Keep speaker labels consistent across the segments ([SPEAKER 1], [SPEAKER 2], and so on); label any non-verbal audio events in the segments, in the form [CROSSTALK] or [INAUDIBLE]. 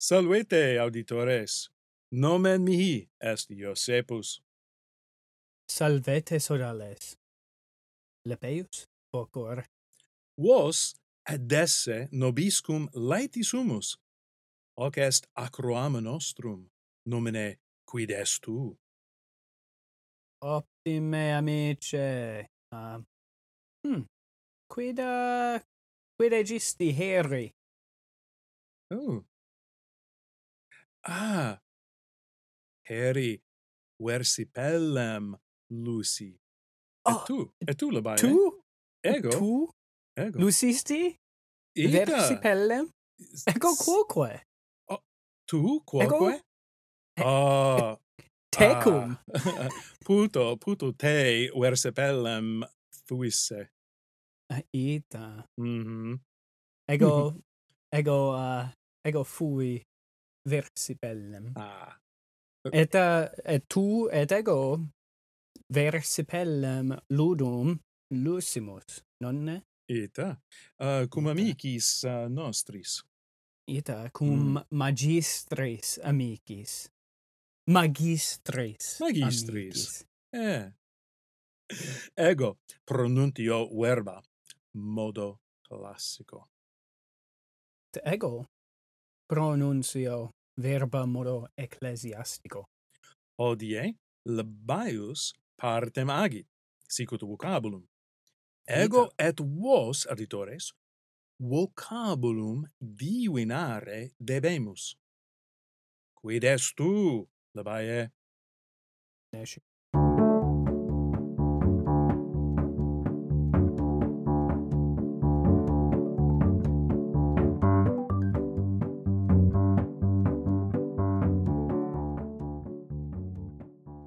[SPEAKER 1] Salvete, auditores. Nomen mihi est Iosepus.
[SPEAKER 2] Salvete sorales. Lepeius vocor.
[SPEAKER 1] Vos ad esse nobiscum laeti sumus. Hoc est acroam nostrum, nomine quid est tu?
[SPEAKER 2] Optime amice. Um, hmm. Quid, uh, quid aegisti heri?
[SPEAKER 1] Oh. Ah. Heri versipellem Lucy.
[SPEAKER 2] Oh,
[SPEAKER 1] et tu, et tu labai, eh?
[SPEAKER 2] Tu?
[SPEAKER 1] Ego,
[SPEAKER 2] Tu?
[SPEAKER 1] ego.
[SPEAKER 2] Lucisti?
[SPEAKER 1] Ita.
[SPEAKER 2] Versipellem? Ego quoque.
[SPEAKER 1] Tu,
[SPEAKER 2] Ego? Eh,
[SPEAKER 1] quoque? Ah,
[SPEAKER 2] Tecum.
[SPEAKER 1] Ah. [LAUGHS] puto, puto te versipellem fuisse.
[SPEAKER 2] Ah, Ita.
[SPEAKER 1] Mhm.
[SPEAKER 2] Ego,
[SPEAKER 1] [LAUGHS]
[SPEAKER 2] ego, uh, ego fui versipellem.
[SPEAKER 1] Ah.
[SPEAKER 2] Et, uh, et tu et ego versipellem ludum lusimus, nonne?
[SPEAKER 1] Eta, uh, cum
[SPEAKER 2] Eta.
[SPEAKER 1] amicis uh, nostris.
[SPEAKER 2] Ita cum magistres amicis. Magistres.
[SPEAKER 1] Magistris.
[SPEAKER 2] Amicis.
[SPEAKER 1] Eh. Ego pronuntio verba modo classico.
[SPEAKER 2] Et Ego pronuncio verba modo ecclesiastico.
[SPEAKER 1] Hodie labaius partem agit, sicut vocabulum. Ego et vos, auditores, vocabulum divinare debemus. Quid est tu, labae?
[SPEAKER 2] Nesci.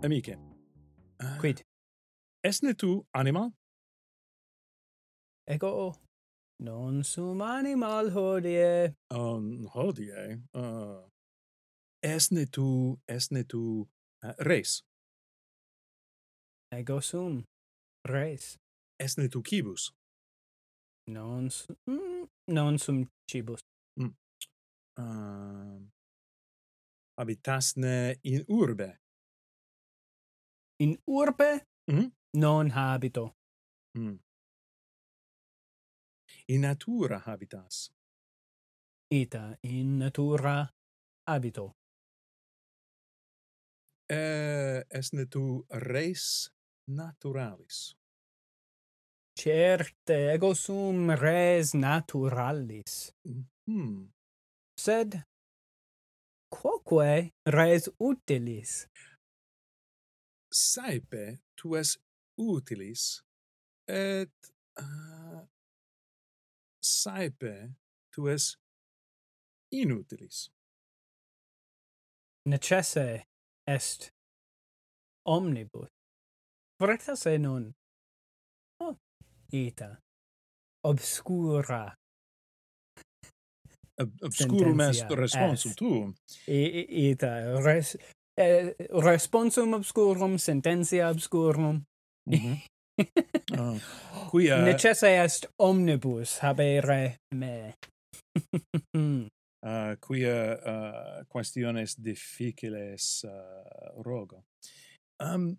[SPEAKER 1] Amice. Ah,
[SPEAKER 2] Quid?
[SPEAKER 1] Esne tu anima?
[SPEAKER 2] Ego non sum animal hodie.
[SPEAKER 1] Um, hodie, uh, esne tu, esne tu uh, res,
[SPEAKER 2] Ego sum. Res.
[SPEAKER 1] esne tu cibus.
[SPEAKER 2] Non sum, mm, non sum cibus.
[SPEAKER 1] Um, habitasne in urbe.
[SPEAKER 2] In urbe
[SPEAKER 1] Mhm.
[SPEAKER 2] non habito.
[SPEAKER 1] Mm. In natura habitas.
[SPEAKER 2] Ita in natura habito.
[SPEAKER 1] Uh, esne tu res naturalis.
[SPEAKER 2] Certe ego sum res naturalis.
[SPEAKER 1] Hmm.
[SPEAKER 2] sed quoque res utilis
[SPEAKER 1] Saepe tu es utilis et uh, saepe tu es inutilis.
[SPEAKER 2] necesse est omnibus veritas e non oh, ita obscura
[SPEAKER 1] Ob- obscurum est
[SPEAKER 2] Sententia
[SPEAKER 1] responsum
[SPEAKER 2] est.
[SPEAKER 1] tuum.
[SPEAKER 2] I, i- ita res eh, responsum obscurum sententia obscurum
[SPEAKER 1] Mm-hmm. Ah, quia
[SPEAKER 2] necesse est omnibus habere me [LAUGHS]
[SPEAKER 1] ah, quia ah, questiones difficiles ah, rogo. Um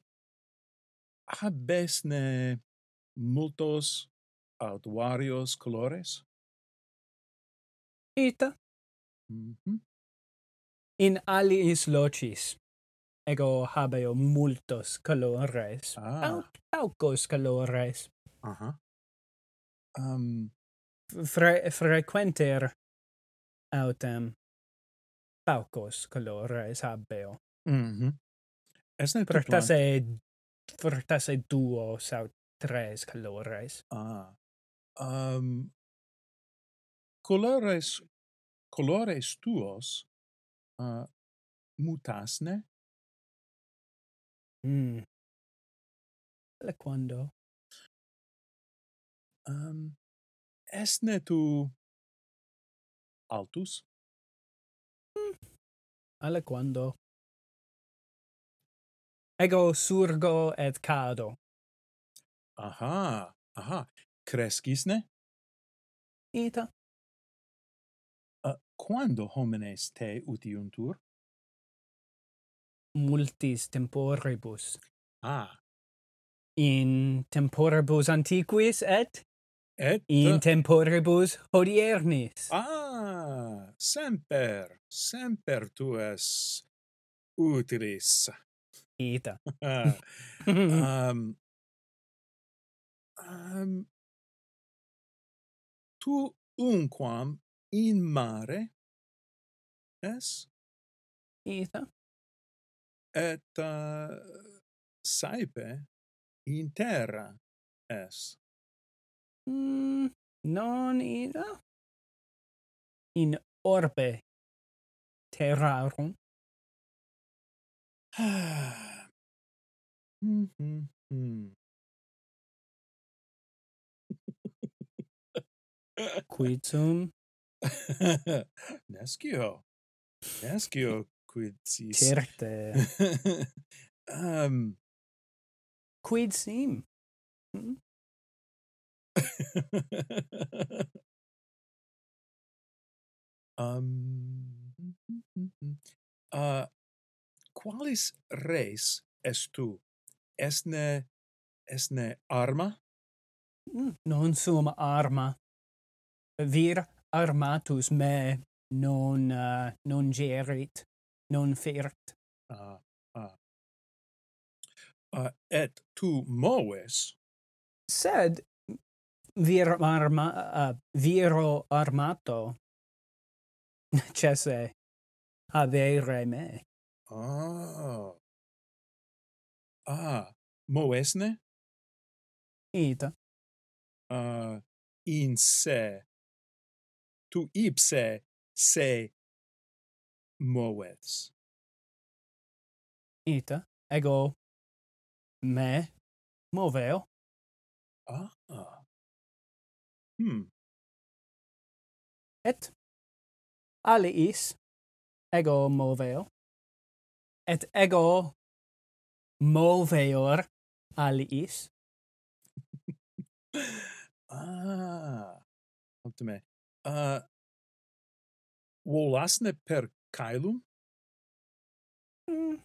[SPEAKER 1] habesne multos aut varios colores?
[SPEAKER 2] ita
[SPEAKER 1] Mhm.
[SPEAKER 2] in aliis locis ego habeo multos calores
[SPEAKER 1] Ah,
[SPEAKER 2] Pau- paucos calores
[SPEAKER 1] aha. Um
[SPEAKER 2] Fre frequenter autem paucos calores habeo
[SPEAKER 1] mhm. Esne tu plan-
[SPEAKER 2] pertasse pertasse duos aut tres calores
[SPEAKER 1] Ah. Um colores colores tuos uh, mutasne?
[SPEAKER 2] mm. quando
[SPEAKER 1] Um esne tu altus?
[SPEAKER 2] alle quando ego surgo et cado
[SPEAKER 1] Aha. Aha. Crescisne?
[SPEAKER 2] ita
[SPEAKER 1] Uh, quando homines te utiuntur?
[SPEAKER 2] multis temporibus
[SPEAKER 1] Ah,
[SPEAKER 2] in temporibus antiquis et
[SPEAKER 1] et
[SPEAKER 2] in temporibus hodiernis
[SPEAKER 1] ah, semper, semper tu es utilis. [LAUGHS]
[SPEAKER 2] ita [LAUGHS]
[SPEAKER 1] um, um, tu unquam in mare es
[SPEAKER 2] ita
[SPEAKER 1] et uh, saepe in terra es [SIGHS]
[SPEAKER 2] mm, non ita in orbe terrarum
[SPEAKER 1] Mhm, hmm.
[SPEAKER 2] quid sum
[SPEAKER 1] [LAUGHS] nescio nescio quid sis [LAUGHS]
[SPEAKER 2] certe
[SPEAKER 1] um [LAUGHS]
[SPEAKER 2] quid sim
[SPEAKER 1] um, uh, qualis res est tu? Esne, esne arma?
[SPEAKER 2] Mm, non sum arma vir armatus me non uh, non gerit non fert
[SPEAKER 1] Uh, uh. Uh, et tu moves?
[SPEAKER 2] sed vir arma uh, viro armato [LAUGHS] cesse habere me
[SPEAKER 1] Ah. Ah, moesne?
[SPEAKER 2] ita
[SPEAKER 1] Uh, in se. Tu ipse se moves.
[SPEAKER 2] ita ego me moveo
[SPEAKER 1] Ah. Hmm.
[SPEAKER 2] et aliis ego moveo et ego moveor aliis
[SPEAKER 1] Ah. Optime. Uh, volasne per caelum? [LAUGHS]
[SPEAKER 2] mm.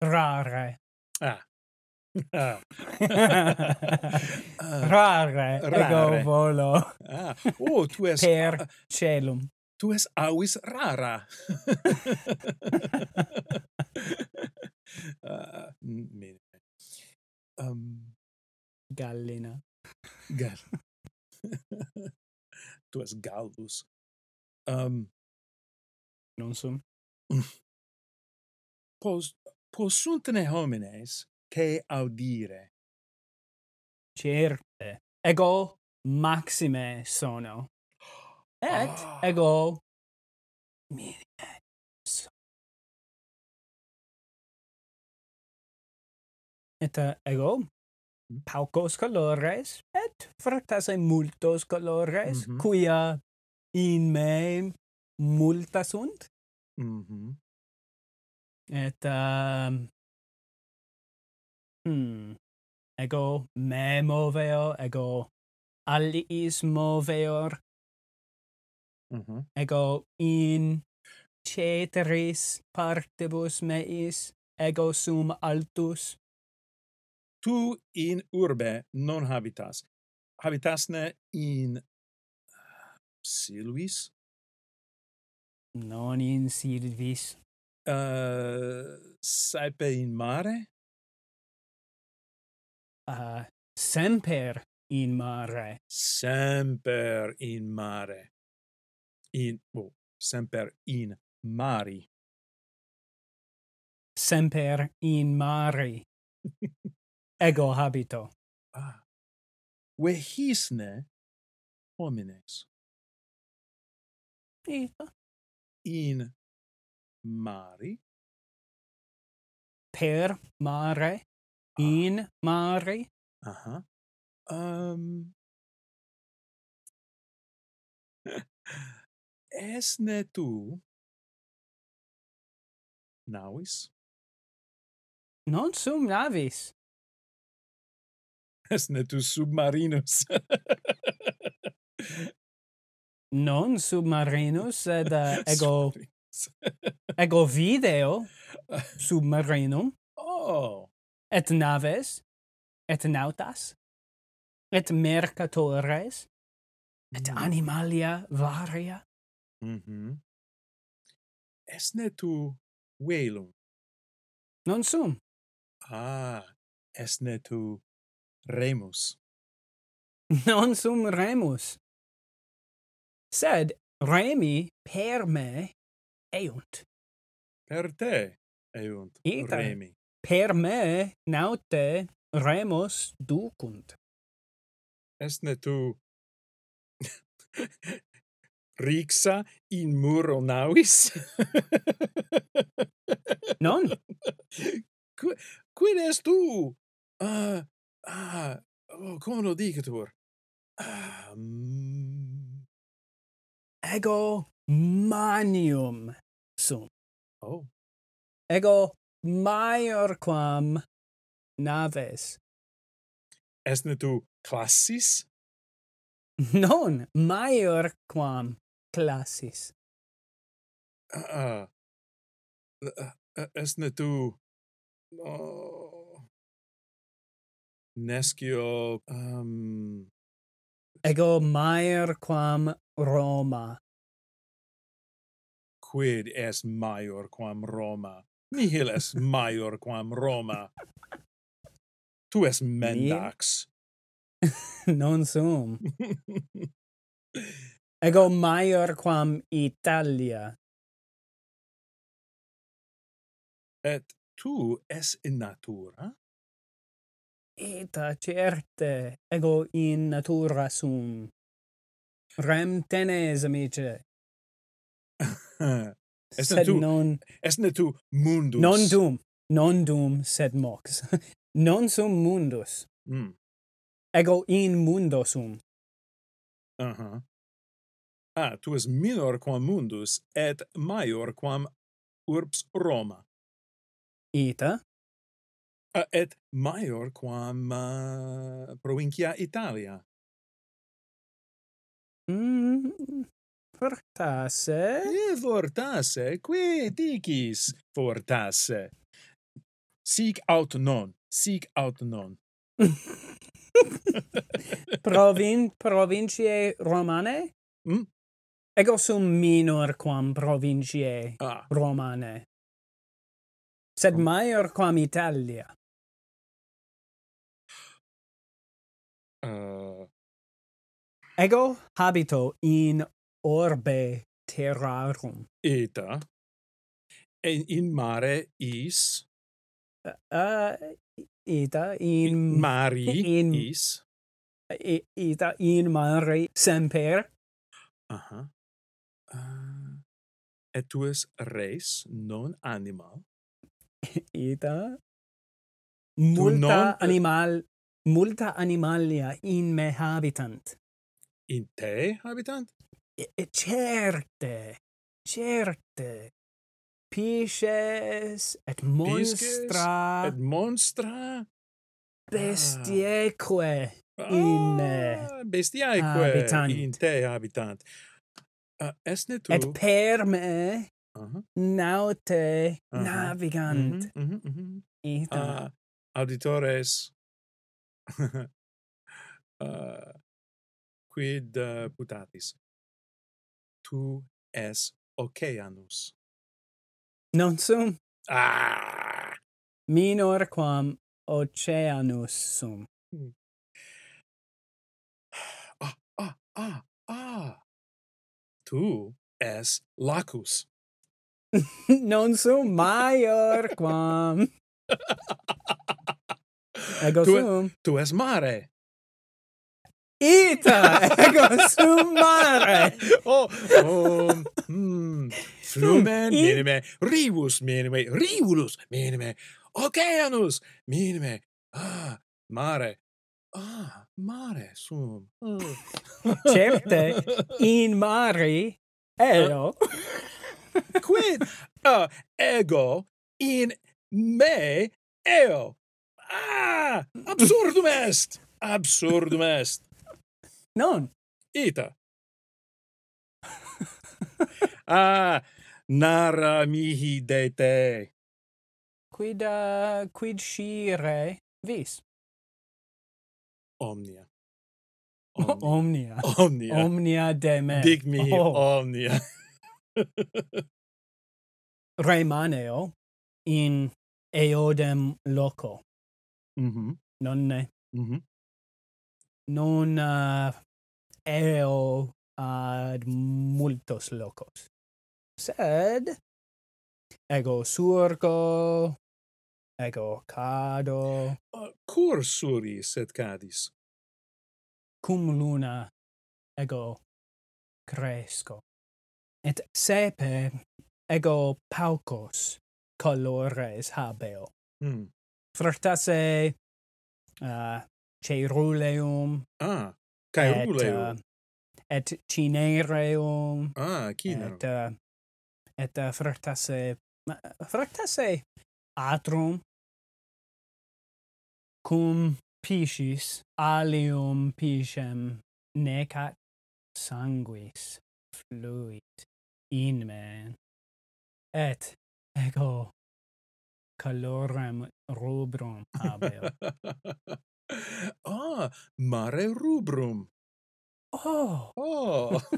[SPEAKER 2] rare
[SPEAKER 1] Ah. ah.
[SPEAKER 2] rare ego
[SPEAKER 1] rare.
[SPEAKER 2] volo
[SPEAKER 1] ah. Oh, tu es
[SPEAKER 2] per celum
[SPEAKER 1] tu es avis rara. uh, m- bene. Um,
[SPEAKER 2] gallina
[SPEAKER 1] gal. [LAUGHS] tu es gallus. Um,
[SPEAKER 2] non sum
[SPEAKER 1] pos possuntne homines te audire.
[SPEAKER 2] certe ego maxime sono et
[SPEAKER 1] Ah.
[SPEAKER 2] ego minime sono et uh, ego paucos colores et fructas in multos colores
[SPEAKER 1] Mhm.
[SPEAKER 2] quia in me multa sunt
[SPEAKER 1] Mhm.
[SPEAKER 2] et um, hmm, ego me moveo ego aliis moveor
[SPEAKER 1] Mhm.
[SPEAKER 2] ego in ceteris partibus meis ego sum altus
[SPEAKER 1] Tu in urbe non habitas. Habitasne in ah, Silvis?
[SPEAKER 2] non in silvis
[SPEAKER 1] Uh, saepe in mare?
[SPEAKER 2] uh, semper in mare
[SPEAKER 1] Semper in mare. In, oh, semper in mari.
[SPEAKER 2] semper in mari ego habito
[SPEAKER 1] Ah. Vehisne homines in mari
[SPEAKER 2] per mare in mare
[SPEAKER 1] Uh-huh. Um [LAUGHS] Esne tu navis?
[SPEAKER 2] non sum navis
[SPEAKER 1] [LAUGHS] Esne tu submarinus?
[SPEAKER 2] non submarinus sed uh, ego ego video submarinum
[SPEAKER 1] oh,
[SPEAKER 2] et naves et nautas et mercatores et
[SPEAKER 1] Mm.
[SPEAKER 2] animalia varia
[SPEAKER 1] Mhm. Esne tu velum?
[SPEAKER 2] non sum [LAUGHS]
[SPEAKER 1] Ah, esne tu remus?
[SPEAKER 2] non sum remus sed remi per me eunt
[SPEAKER 1] Per te eunt
[SPEAKER 2] Ita.
[SPEAKER 1] remi.
[SPEAKER 2] per me naute remus ducunt
[SPEAKER 1] Esne tu [LAUGHS] rixa in muro [LAUGHS] navis?
[SPEAKER 2] non
[SPEAKER 1] Qui- Quid est tu? Ah, ah, oh, como lo dicetur? Ah, mm,
[SPEAKER 2] ego manium sum
[SPEAKER 1] oh,
[SPEAKER 2] ego maiorquam naves [LAUGHS]
[SPEAKER 1] esne tu classis?
[SPEAKER 2] non maiorquam classis
[SPEAKER 1] Ah, ah, ah, esne tu... No... Nescio... Um,
[SPEAKER 2] ego maiorquam roma [LAUGHS]
[SPEAKER 1] quid est maior quam Roma? Nihil est maior quam Roma. Tu es mendax.
[SPEAKER 2] non sum ego maiorquam italia
[SPEAKER 1] Et tu es in natura? [LAUGHS]
[SPEAKER 2] ita certe ego in natura sum rem tenes amice
[SPEAKER 1] Est
[SPEAKER 2] sed
[SPEAKER 1] tu-
[SPEAKER 2] non
[SPEAKER 1] Esne tu mundus?
[SPEAKER 2] non dum non dum sed mox [LAUGHS] non sum mundus
[SPEAKER 1] Mm.
[SPEAKER 2] ego in mundo sum
[SPEAKER 1] Uh-huh. Ah, tu es minor quam mundus et maior quam urbs Roma.
[SPEAKER 2] ita
[SPEAKER 1] Ah, et maior quam uh, provincia Italia.
[SPEAKER 2] mm, fortasse
[SPEAKER 1] E vortasse, qui dicis vortasse. Sic aut non, sic aut
[SPEAKER 2] [LAUGHS]
[SPEAKER 1] non.
[SPEAKER 2] provin provinciae romane
[SPEAKER 1] Mm.
[SPEAKER 2] ego sum minor quam provinciae
[SPEAKER 1] Ah,
[SPEAKER 2] romane sed
[SPEAKER 1] Rom-
[SPEAKER 2] maior quam italia
[SPEAKER 1] uh,
[SPEAKER 2] ego habito in orbe terrarum
[SPEAKER 1] eta. En in mare is,
[SPEAKER 2] uh, ita in
[SPEAKER 1] mari
[SPEAKER 2] in-
[SPEAKER 1] is.
[SPEAKER 2] i- ita in mare semper
[SPEAKER 1] Aha. Uh, et tu es res, non animal.
[SPEAKER 2] ita
[SPEAKER 1] non-
[SPEAKER 2] multa animal multa animalia in me habitant
[SPEAKER 1] In te habitant?
[SPEAKER 2] E- e certe certe pisces et monstra
[SPEAKER 1] Et monstra?
[SPEAKER 2] bestieque In, eh,
[SPEAKER 1] Ah, bestiae
[SPEAKER 2] habitant.
[SPEAKER 1] in te habitant. Uh, esne tu... Uh-huh,
[SPEAKER 2] et per me
[SPEAKER 1] Aha.
[SPEAKER 2] naute
[SPEAKER 1] Aha.
[SPEAKER 2] navigant
[SPEAKER 1] Mhm, mhm, mhm.
[SPEAKER 2] ita
[SPEAKER 1] Ah, auditores [LAUGHS] uh, quid uh, putatis tu es oceanus
[SPEAKER 2] non sum
[SPEAKER 1] ah
[SPEAKER 2] minor quam oceanus sum
[SPEAKER 1] ah ah ah, ah. tu es lacus
[SPEAKER 2] [LAUGHS] non sum maior
[SPEAKER 1] [LAUGHS]
[SPEAKER 2] quam ego
[SPEAKER 1] tu,
[SPEAKER 2] sum
[SPEAKER 1] tu es mare
[SPEAKER 2] ita ego sum
[SPEAKER 1] [LAUGHS]
[SPEAKER 2] mare
[SPEAKER 1] oh um, mm, flumen
[SPEAKER 2] i-
[SPEAKER 1] minime rivus minime rivulus minime oceanus minime ah mare ah mare sum Oh.
[SPEAKER 2] Certe. in mari eo
[SPEAKER 1] quid uh, ego in me eo ah absurdum est absurdum est
[SPEAKER 2] non
[SPEAKER 1] ita [LAUGHS] ah, nara mihi de te.
[SPEAKER 2] Quid, uh, quid scire vis?
[SPEAKER 1] Omnia. Omnia.
[SPEAKER 2] Omnia.
[SPEAKER 1] Omnia.
[SPEAKER 2] Omnia de me.
[SPEAKER 1] Dig mihi
[SPEAKER 2] Oh.
[SPEAKER 1] omnia.
[SPEAKER 2] Remaneo in eodem loco.
[SPEAKER 1] mm-hmm.
[SPEAKER 2] Nonne.
[SPEAKER 1] Mm-hmm.
[SPEAKER 2] Non uh, eo ad multos locos. Sed ego surco, ego cado,
[SPEAKER 1] Uh, cur suris et cadis.
[SPEAKER 2] cum luna ego cresco et sepe ego paucos colores habeo
[SPEAKER 1] Hmm.
[SPEAKER 2] fructase uh, ceruleum
[SPEAKER 1] Ah, cae
[SPEAKER 2] et, uh, et cinereum
[SPEAKER 1] ah, cino.
[SPEAKER 2] et uh, et uh, fructase ma- fructase atrum cum piscis alium piscem necat sanguis fluit in me et ego calorem rubrum
[SPEAKER 1] [LAUGHS]
[SPEAKER 2] habeo
[SPEAKER 1] ah, mare rubrum.
[SPEAKER 2] oh
[SPEAKER 1] Oh. [LAUGHS]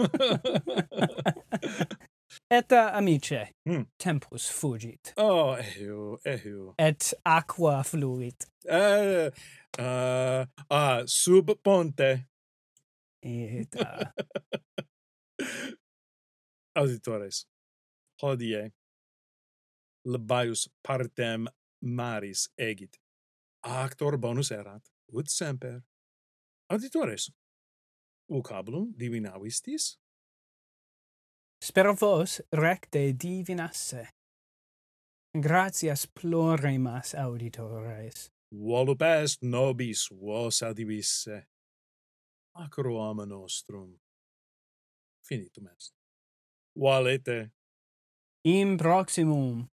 [SPEAKER 2] et uh, amice
[SPEAKER 1] Hmm.
[SPEAKER 2] tempus fugit
[SPEAKER 1] oh, ehio, ehio.
[SPEAKER 2] et aqua fluit
[SPEAKER 1] Uh, uh, ah, sub ponte.
[SPEAKER 2] et uh,
[SPEAKER 1] Auditores, hodie labaius partem maris egit. Actor bonus erat, ut semper. Auditores, vocabulum divinavistis?
[SPEAKER 2] Spero vos recte divinasse. Gratias ploremas auditores.
[SPEAKER 1] Volup est nobis vos adivisse. Acroama nostrum. Finitum est. Valete.
[SPEAKER 2] In proximum